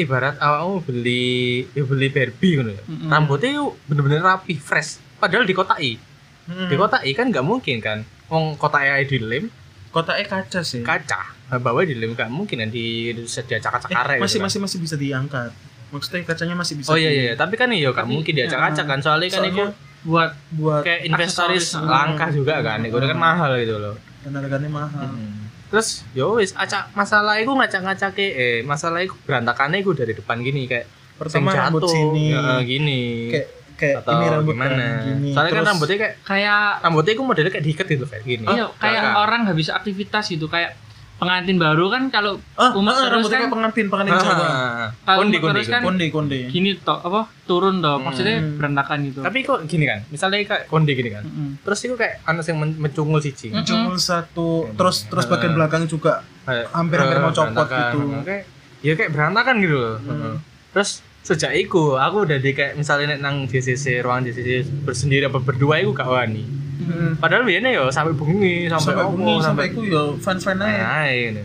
[SPEAKER 1] ibarat kamu beli ya beli Barbie gitu ya.
[SPEAKER 2] Mm-mm.
[SPEAKER 1] Rambutnya yuk bener-bener rapi, fresh. Padahal dikotai.
[SPEAKER 3] Mm-mm.
[SPEAKER 1] Dikotai kan nggak mungkin kan. Wong kotaknya dilem,
[SPEAKER 3] kotaknya kaca sih
[SPEAKER 1] kaca. Bawa dilem nggak mungkin kan di sedia
[SPEAKER 3] Eh,
[SPEAKER 1] cakak-cakare. gitu
[SPEAKER 3] masih
[SPEAKER 1] kan.
[SPEAKER 3] masih masih bisa diangkat maksudnya kacanya masih bisa
[SPEAKER 1] Oh iya
[SPEAKER 3] di-
[SPEAKER 1] iya, tapi kan iya nggak
[SPEAKER 2] Tapi,
[SPEAKER 1] mungkin diacak-acak kan soalnya kan itu
[SPEAKER 3] ya. Soalnya- Hmm.
[SPEAKER 2] buat
[SPEAKER 3] buat
[SPEAKER 1] kayak inventaris
[SPEAKER 2] aksesoris.
[SPEAKER 1] langka juga kan. Itu kan
[SPEAKER 3] Hmm.
[SPEAKER 1] mahal gitu loh.
[SPEAKER 3] dan harganya mahal.
[SPEAKER 1] Hmm. Terus yo wis acak masalah iku ngacak-ngacake eh masalah iku berantakane iku dari depan gini kayak sing
[SPEAKER 3] Pertama rambut sini,
[SPEAKER 1] ya, gini.
[SPEAKER 3] kayak kayak
[SPEAKER 1] atau
[SPEAKER 3] ini rambut
[SPEAKER 1] gimana.
[SPEAKER 3] kanan, gini.
[SPEAKER 1] Soalnya kan
[SPEAKER 3] Terus
[SPEAKER 1] rambutnya kayak
[SPEAKER 2] kayak
[SPEAKER 1] rambutnya iku modelnya kayak diikat gitu kayak gini.
[SPEAKER 2] iya, kayak
[SPEAKER 1] Belakang.
[SPEAKER 2] orang nggak bisa aktivitas gitu kayak pengantin baru kan kalau
[SPEAKER 3] ah,
[SPEAKER 2] umat
[SPEAKER 3] ah,
[SPEAKER 2] terus
[SPEAKER 3] rambutnya
[SPEAKER 2] kan-
[SPEAKER 3] kayak pengantin pengantin
[SPEAKER 1] Ah,
[SPEAKER 3] Jawa.
[SPEAKER 1] ah, ah.
[SPEAKER 2] Kalau
[SPEAKER 1] Kondi
[SPEAKER 2] mau
[SPEAKER 1] kondi.
[SPEAKER 2] terus kan-
[SPEAKER 1] kondi.
[SPEAKER 3] Konde konde.
[SPEAKER 2] gini toh apa turun toh maksudnya
[SPEAKER 3] Hmm.
[SPEAKER 2] berantakan gitu
[SPEAKER 1] Tapi kok gini kan, misalnya kayak kondi gini kan.
[SPEAKER 2] Mm-mm.
[SPEAKER 1] Terus iku kayak ana sing men- mencungul siji.
[SPEAKER 2] Mm.
[SPEAKER 3] Cungul satu, terus terus bagian belakang juga
[SPEAKER 1] Kayak,
[SPEAKER 3] Hampir-hampir
[SPEAKER 1] eh,
[SPEAKER 3] mau copot
[SPEAKER 1] berantakan.
[SPEAKER 3] gitu.
[SPEAKER 1] Kayak ya kayak berantakan gitu loh. Heeh. Terus sejak iku aku udah di kayak misalnya nek nang JCC ruangan JCC bersendiri apa berdua iku gak wani.
[SPEAKER 2] Hmm.
[SPEAKER 1] Padahal biasanya ya sampai bengi, sampai,
[SPEAKER 3] sampai
[SPEAKER 1] opo,
[SPEAKER 3] bunyi sampai aku ya fan fan aja.
[SPEAKER 1] Nah, ini.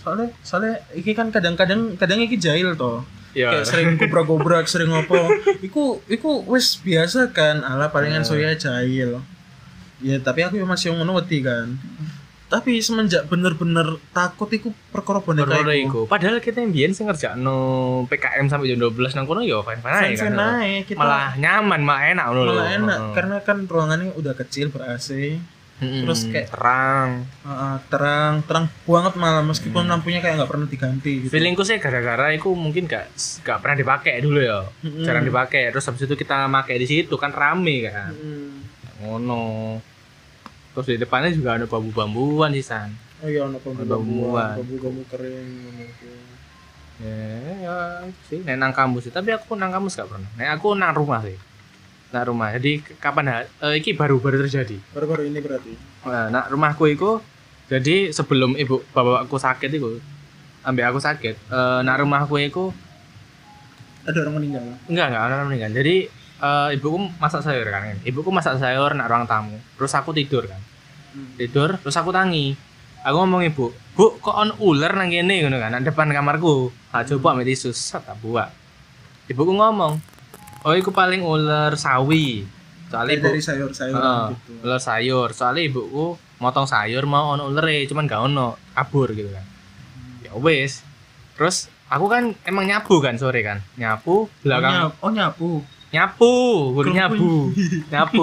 [SPEAKER 3] Soalnya soalnya iki kan kadang-kadang kadang iki jahil toh.
[SPEAKER 1] Ya.
[SPEAKER 3] kayak sering gobrak-gobrak sering ngopo iku iku wis biasa kan ala palingan
[SPEAKER 1] Iya.
[SPEAKER 3] soya jahil ya tapi aku masih ngono wedi kan tapi semenjak bener-bener takut iku perkara boneka
[SPEAKER 1] Perkara iku.
[SPEAKER 3] iku
[SPEAKER 1] Padahal kita yang biyen sing ngerjakno PKM sampai jam 12 nang kono ya fine-fine ae kan.
[SPEAKER 3] Fan-fan ae, kita
[SPEAKER 1] Malah nyaman, malah enak ngono lho.
[SPEAKER 3] malah enak
[SPEAKER 1] Heeh.
[SPEAKER 3] karena kan ruangannya udah kecil ber AC
[SPEAKER 1] Mm-mm.
[SPEAKER 3] terus kayak-
[SPEAKER 1] terang.
[SPEAKER 3] uh, terang terang banget malah meskipun
[SPEAKER 1] Hmm.
[SPEAKER 3] lampunya kayak nggak pernah diganti gitu
[SPEAKER 1] Feelingku sih gara-gara iku mungkin gak gak pernah dipakai dulu ya.
[SPEAKER 3] Mm-mm.
[SPEAKER 1] Jarang dipakai. Terus habis itu kita pakai di situ kan rame kan.
[SPEAKER 3] Mm.
[SPEAKER 1] Ngono. Terus di depannya juga ada bambu-bambuan sih San.
[SPEAKER 3] Oh iya, ono bambu
[SPEAKER 1] Bambuan.
[SPEAKER 3] bambu bambu kering. ono iku.
[SPEAKER 1] Ya, ya sih nek nang kampus sih, tapi aku nang kampus gak pernah. Nek aku nang rumah sih. Nang rumah. Jadi kapan ha- eh, iki baru-baru terjadi.
[SPEAKER 3] Baru-baru ini berarti.
[SPEAKER 1] Nah, nak rumahku itu jadi sebelum ibu bapakku sakit itu ambil aku sakit. Eh nak rumahku itu
[SPEAKER 3] Ada orang meninggal.
[SPEAKER 1] enggak enggak orang meninggal. Jadi eh, ibuku masak sayur kan. Ibuku masak sayur nak ruang tamu. Terus aku tidur kan. Tidur terus aku tangi. Aku ngomong ibu, "Bu, kok on ular nang kene ngono kan, nang depan kamarku." Tak coba ambil tisu, set tak buak. Ibuku ngomong, "Oh, iku paling ular sawi." Soalnya
[SPEAKER 3] Kayak
[SPEAKER 1] ibu,
[SPEAKER 3] dari sayur-sayuran
[SPEAKER 1] Heeh,
[SPEAKER 3] gitu.
[SPEAKER 1] ular sayur soalnya ibuku motong sayur mau ono ulere cuman gak ono kabur gitu kan ya wes terus aku kan emang nyapu kan sore kan nyapu belakang
[SPEAKER 3] Oh, nyapu.
[SPEAKER 1] nyapu guru
[SPEAKER 3] Kelompoin.
[SPEAKER 1] nyapu nyapu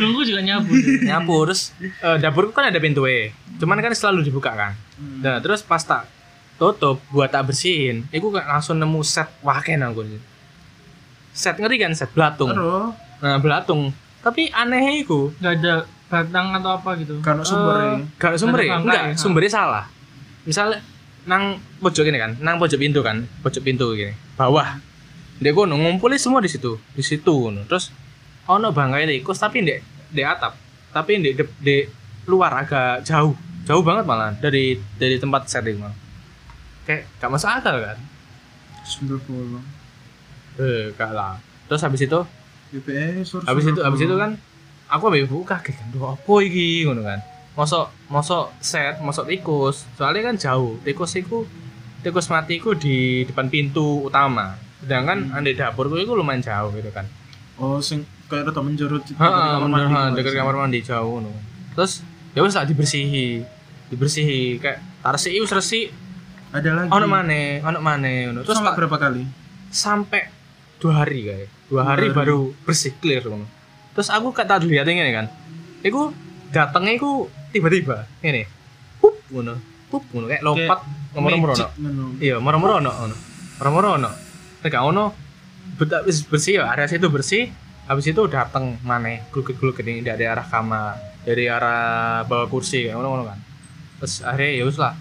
[SPEAKER 2] Kelungku juga nyabu.
[SPEAKER 1] nyapu terus eh, dapurku kan ada pintu eh cuman kan selalu dibuka kan nah terus pas tak tutup buat tak bersihin aku langsung nemu set waken aku set ngeri kan set belatung
[SPEAKER 3] Terus
[SPEAKER 1] nah belatung tapi anehnya iku
[SPEAKER 2] Gak ada batang atau apa gitu.
[SPEAKER 3] karena sumbernya.
[SPEAKER 1] Eh, gak sumbernya,
[SPEAKER 2] Ada
[SPEAKER 1] enggak,
[SPEAKER 2] bangkai, ha.
[SPEAKER 1] sumbernya salah. Misalnya nang pojok ini kan, nang pojok pintu kan, pojok pintu gini, bawah. Dia kono ngumpulin semua di situ, di situ kono. Terus ono bangkai tikus tapi ndek di atap, tapi ndek di, di luar agak jauh, jauh banget malah dari dari tempat setting malah. Kayak gak masuk akal kan?
[SPEAKER 3] Sumber bolong.
[SPEAKER 1] Eh, gak lah. Terus habis itu
[SPEAKER 3] BPS terus
[SPEAKER 1] habis itu
[SPEAKER 3] sumber
[SPEAKER 1] habis itu
[SPEAKER 3] E, bolong.
[SPEAKER 1] kan aku ambil ibu kaget kan "Duh, apa iki ngono kan mosok mosok set mosok tikus soalnya kan jauh tikus iku tikus mati iku di depan pintu utama sedangkan
[SPEAKER 3] Hmm.
[SPEAKER 1] andai dapurku itu lumayan jauh gitu kan
[SPEAKER 3] Oh, sing kayak rata menjerut gitu.
[SPEAKER 1] Heeh,
[SPEAKER 3] kamar mandi gitu.
[SPEAKER 1] dekat kamar mandi jauh no. Terus ya wis tak dibersihi. Dibersihi kayak tarsi wis resik,
[SPEAKER 3] Ada lagi.
[SPEAKER 1] ono maneh, ono maneh ngono. Oh, Terus
[SPEAKER 3] Terus sampai
[SPEAKER 1] tak-
[SPEAKER 3] berapa kali?
[SPEAKER 1] sampai dua hari kayak dua hari
[SPEAKER 3] hari.
[SPEAKER 1] baru bersih clear ngono. terus aku kata dilihat ini kan aku datangnya aku tiba-tiba ini pup ngono pup ngono kayak lompat nomor-nomor ono
[SPEAKER 3] Magic, ngono.
[SPEAKER 1] iya nomor-nomor ono ngono. nomor-nomor ono tegak ono bet- wis bersih ya area situ bersih habis itu datang mana gulung-gulung ini dari arah kamar dari arah bawah kursi kayak ngono-ngono kan terus akhirnya ya wis lah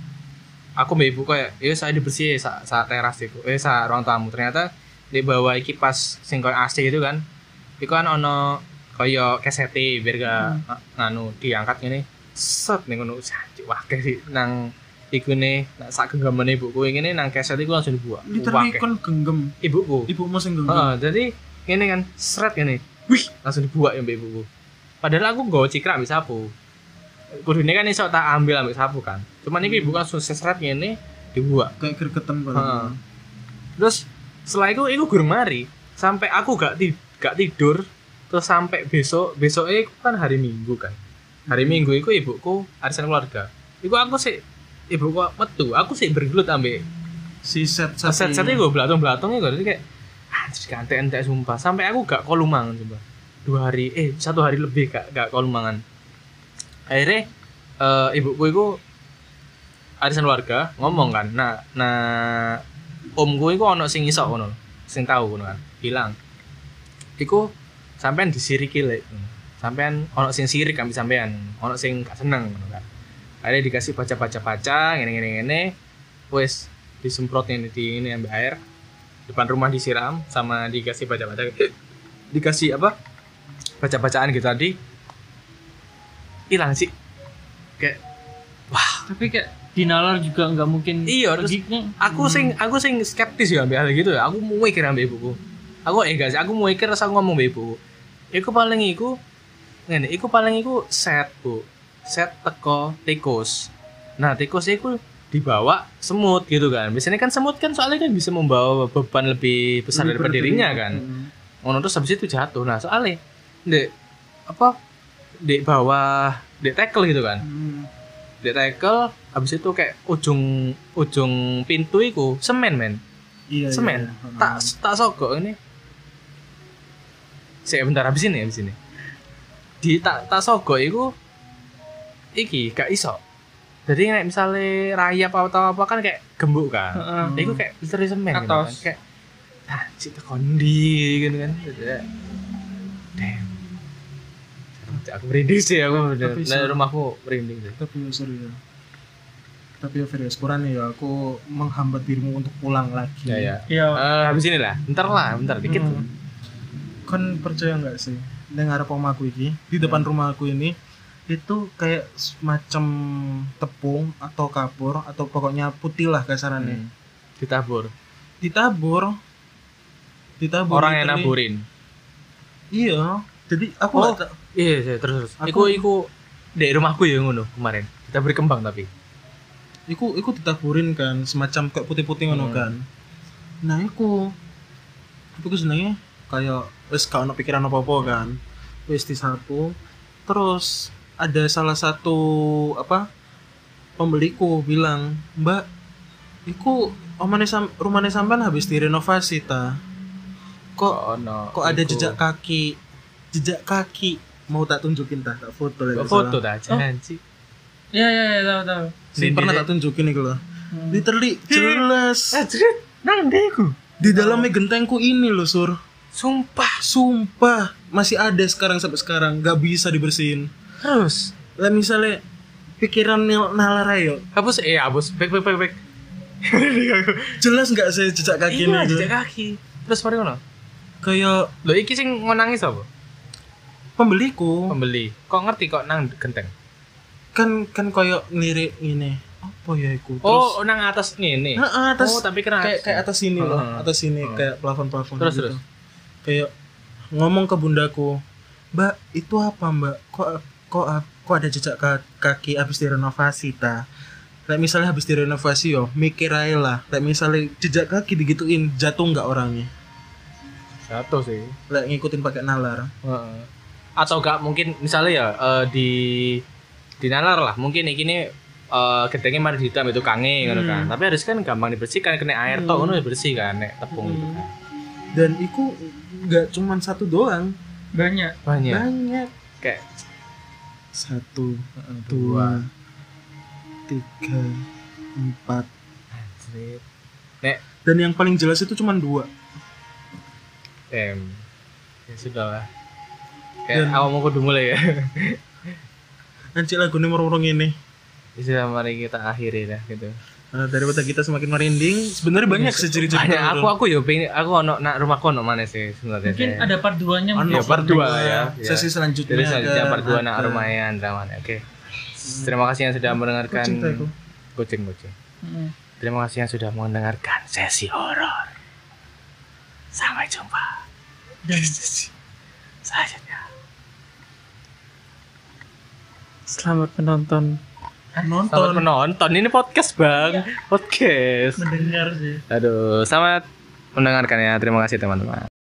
[SPEAKER 1] aku mbak ibu kayak ya saya dibersih sa, sa teras itu eh sa ruang tamu ternyata di bawah kipas sing koyo AC itu kan itu kan ono koyo kesete biar gak
[SPEAKER 3] Hmm.
[SPEAKER 1] nganu diangkat gini set nih ngono sanci wah kayak sih nang iku nih nak sak genggaman ibuku ini nang keset iku langsung dibuat
[SPEAKER 3] Literally
[SPEAKER 1] Wah, kayak
[SPEAKER 3] kon genggam.
[SPEAKER 1] ibuku
[SPEAKER 3] Ibumu sing genggam.
[SPEAKER 1] Heeh, jadi ini kan seret gini wih langsung dibuat ya mbak ibuku padahal aku gak cikra ambil sapu kudune kan iso tak ambil ambil sapu kan cuman ini ibu langsung seret gini dibuat
[SPEAKER 3] Kayak gergetan
[SPEAKER 1] Heeh.
[SPEAKER 3] bareng.
[SPEAKER 1] terus setelah itu itu gurung mari sampai aku gak ti- gak tidur terus sampai besok besoknya itu kan hari minggu kan hari minggu itu ibuku arisan keluarga itu aku sih ibuku metu aku sih bergelut ambil
[SPEAKER 3] Si set set.
[SPEAKER 1] set set gue belatung belatungnya gue ya, jadi kayak anjir kantek entek sumpah sampai aku gak kolumangan sumpah dua hari eh satu hari lebih gak gak kolumangan akhirnya eh, ibuku itu arisan warga ngomong kan nah nah omku itu ono sing iso ono sing tahu ono kan hilang iku sampean disiriki lek sampean ono sing sirik kami sampean ono sing gak seneng ngono kan akhirnya dikasih baca baca baca ngene ngene ngene wes disemprot ini di ini ambil air depan rumah disiram sama dikasih baca baca dikasih apa baca bacaan gitu tadi hilang sih kayak
[SPEAKER 2] Tapi kayak dinalar juga nggak mungkin.
[SPEAKER 1] Iya, terus-
[SPEAKER 2] pergi, kan?
[SPEAKER 3] Hmm.
[SPEAKER 1] aku sing aku sing skeptis ya ambil hal gitu ya aku mau mikir ambil ibuku aku eh gak sih aku mau mikir terus aku ngomong ambil ibuku iku paling iku ngene iku paling iku set bu set teko tikus nah tikus iku dibawa semut gitu kan biasanya kan semut kan soalnya kan bisa membawa beban lebih besar
[SPEAKER 3] Lebih hmm.
[SPEAKER 1] daripada
[SPEAKER 3] berat
[SPEAKER 1] dirinya
[SPEAKER 3] dari-
[SPEAKER 1] kan
[SPEAKER 2] Mm.
[SPEAKER 1] ngono terus habis itu jatuh nah soalnya dek apa dek bawah dek tackle gitu kan
[SPEAKER 2] Mm.
[SPEAKER 1] dek tackle habis itu kayak ujung ujung pintu itu semen men
[SPEAKER 3] Iya,
[SPEAKER 1] Semen.
[SPEAKER 3] iya. Heeh.
[SPEAKER 1] tak tak sogok ini saya bentar habis ini habis ini di tak tak sogok itu iki gak iso jadi kayak misalnya rayap atau apa kan kayak gembuk kan
[SPEAKER 2] Heeh.
[SPEAKER 3] Iya.
[SPEAKER 1] Iku kayak literally semen gitu kan.
[SPEAKER 2] Atos.
[SPEAKER 1] Kayak ah cita kondi gitu kan. Damn. Aku merinding sih aku bener.
[SPEAKER 3] Tapi
[SPEAKER 1] Nah,
[SPEAKER 3] sih-
[SPEAKER 1] rumahku merinding sih.
[SPEAKER 3] tapi ya serius tapi ya serius kurang ya aku menghambat dirimu untuk pulang lagi
[SPEAKER 1] Ya ya.
[SPEAKER 2] Iya.
[SPEAKER 1] Eh, habis ini lah. Bentar lah, bentar dikit.
[SPEAKER 3] Hmm. Kon Kan percaya nggak sih dengar rumah aku ini di depan rumah aku ini itu kayak semacam tepung atau kapur atau pokoknya putih lah kasarannya
[SPEAKER 1] Hmm. Ditabur.
[SPEAKER 3] ditabur ditabur
[SPEAKER 1] Orang yang
[SPEAKER 3] literally.
[SPEAKER 1] naburin.
[SPEAKER 3] iya jadi aku
[SPEAKER 1] Oh.
[SPEAKER 3] nggak ta-
[SPEAKER 1] Iya, iya, terus terus. Iku
[SPEAKER 3] Aku-
[SPEAKER 1] iku di rumahku ya ngono kemarin. Kita beri kembang tapi.
[SPEAKER 3] iku iku ditaburin kan semacam kayak putih-putih
[SPEAKER 1] Hmm.
[SPEAKER 3] ngono kan nah iku iku ku senengnya kayak wis gak ono pikiran apa-apa kan wis disapu terus ada salah satu apa pembeliku bilang mbak iku omane sam rumahnya sampean habis direnovasi ta kok
[SPEAKER 1] ono.
[SPEAKER 3] kok ada
[SPEAKER 1] iku.
[SPEAKER 3] jejak kaki jejak kaki mau tak tunjukin tak tak foto lah
[SPEAKER 1] Kok
[SPEAKER 3] nggak
[SPEAKER 1] foto
[SPEAKER 3] salah.
[SPEAKER 1] dah, janji.
[SPEAKER 2] Iya iya iya tahu tahu.
[SPEAKER 3] Sih, pernah tak tunjukin nih loh
[SPEAKER 2] Hmm.
[SPEAKER 3] literally jelas
[SPEAKER 1] Ajrit, nang deku.
[SPEAKER 3] di dalamnya gentengku ini loh sur
[SPEAKER 1] Sumpah.
[SPEAKER 3] sumpah masih ada sekarang sampai sekarang nggak bisa dibersihin
[SPEAKER 1] Terus
[SPEAKER 3] lah misalnya pikiran nil- nalar ayo
[SPEAKER 1] hapus eh hapus back back back back
[SPEAKER 3] jelas nggak saya jejak kaki
[SPEAKER 1] iya
[SPEAKER 3] ini
[SPEAKER 1] jejak kaki terus mari ngono
[SPEAKER 3] kayak
[SPEAKER 1] lo iki sing ngonangi sapa
[SPEAKER 3] pembeliku
[SPEAKER 1] pembeli kok ngerti kok nang genteng
[SPEAKER 3] kan kan kayak ngelirik ini apa ya iku
[SPEAKER 1] oh nang atas ngene
[SPEAKER 3] Nah, atas
[SPEAKER 1] oh tapi kena
[SPEAKER 3] kayak kayak atas sini loh,
[SPEAKER 1] Heeh.
[SPEAKER 3] atas sini
[SPEAKER 1] Heeh.
[SPEAKER 3] kayak plafon-plafon gitu.
[SPEAKER 1] Terus, terus.
[SPEAKER 3] Kayak ngomong ke bundaku, "Mbak, itu apa, Mbak? Kok kok kok ada jejak ka- kaki habis direnovasi ta?" Kayak misalnya habis direnovasi yo, mikir aja lah. Kayak misalnya jejak kaki digituin, jatuh nggak orangnya?
[SPEAKER 1] satu sih
[SPEAKER 3] Kayak ngikutin pakai nalar.
[SPEAKER 1] Heeh. atau gak mungkin misalnya ya eh, di di nalar lah mungkin iki ini eh, gentengnya mari hitam itu kange ngono kan tapi harus kan gampang dibersihkan kena air tok ngono bersih kan nek tepung gitu kan
[SPEAKER 3] Dan itu nggak cuman satu doang,
[SPEAKER 2] Banyak.
[SPEAKER 1] banyak
[SPEAKER 3] banyak.
[SPEAKER 1] Nah, kayak
[SPEAKER 3] Satu,
[SPEAKER 1] dua
[SPEAKER 3] dua, tiga, empat.
[SPEAKER 1] Anjrit.
[SPEAKER 3] Dan yang paling jelas itu cuman dua.
[SPEAKER 1] Em, ya sudah lah. Kayak
[SPEAKER 3] Dan-
[SPEAKER 1] awal mau kudu mulai ya.
[SPEAKER 3] Anjir Kan, lagu ini merurung ini.
[SPEAKER 1] Ya sudah mari kita akhiri dah gitu.
[SPEAKER 3] Nah, daripada kita semakin merinding, sebenarnya banyak sih ciri-ciri
[SPEAKER 1] Banyak
[SPEAKER 3] merurung.
[SPEAKER 1] aku aku yo pengen aku ono nak rumahku ono mana sih
[SPEAKER 3] Iya,
[SPEAKER 1] sebenarnya.
[SPEAKER 2] Mungkin
[SPEAKER 1] saya.
[SPEAKER 2] ada part 2-nya
[SPEAKER 3] Ono
[SPEAKER 1] Ya, part dua lah ya.
[SPEAKER 3] kedua, Sesi
[SPEAKER 1] Ya.
[SPEAKER 3] selanjutnya.
[SPEAKER 1] Jadi selanjutnya
[SPEAKER 3] ada-
[SPEAKER 1] part dua ya, nak
[SPEAKER 3] ada-
[SPEAKER 1] rumahnya Andra mana. Oke. Terima kasih yang sudah mendengarkan
[SPEAKER 3] Hmm. Kucing tuh aku.
[SPEAKER 1] kucing kucing. Terima kasih yang sudah mendengarkan sesi horor. Sampai jumpa.
[SPEAKER 2] Dan
[SPEAKER 1] Selanjutnya.
[SPEAKER 2] selamat menonton
[SPEAKER 1] Selamat
[SPEAKER 3] Nonton. Iya.
[SPEAKER 1] menonton. Ini podcast, Bang. Podcast.
[SPEAKER 2] mendengar sih.
[SPEAKER 1] Aduh, selamat mendengarkan ya. Terima kasih teman-teman.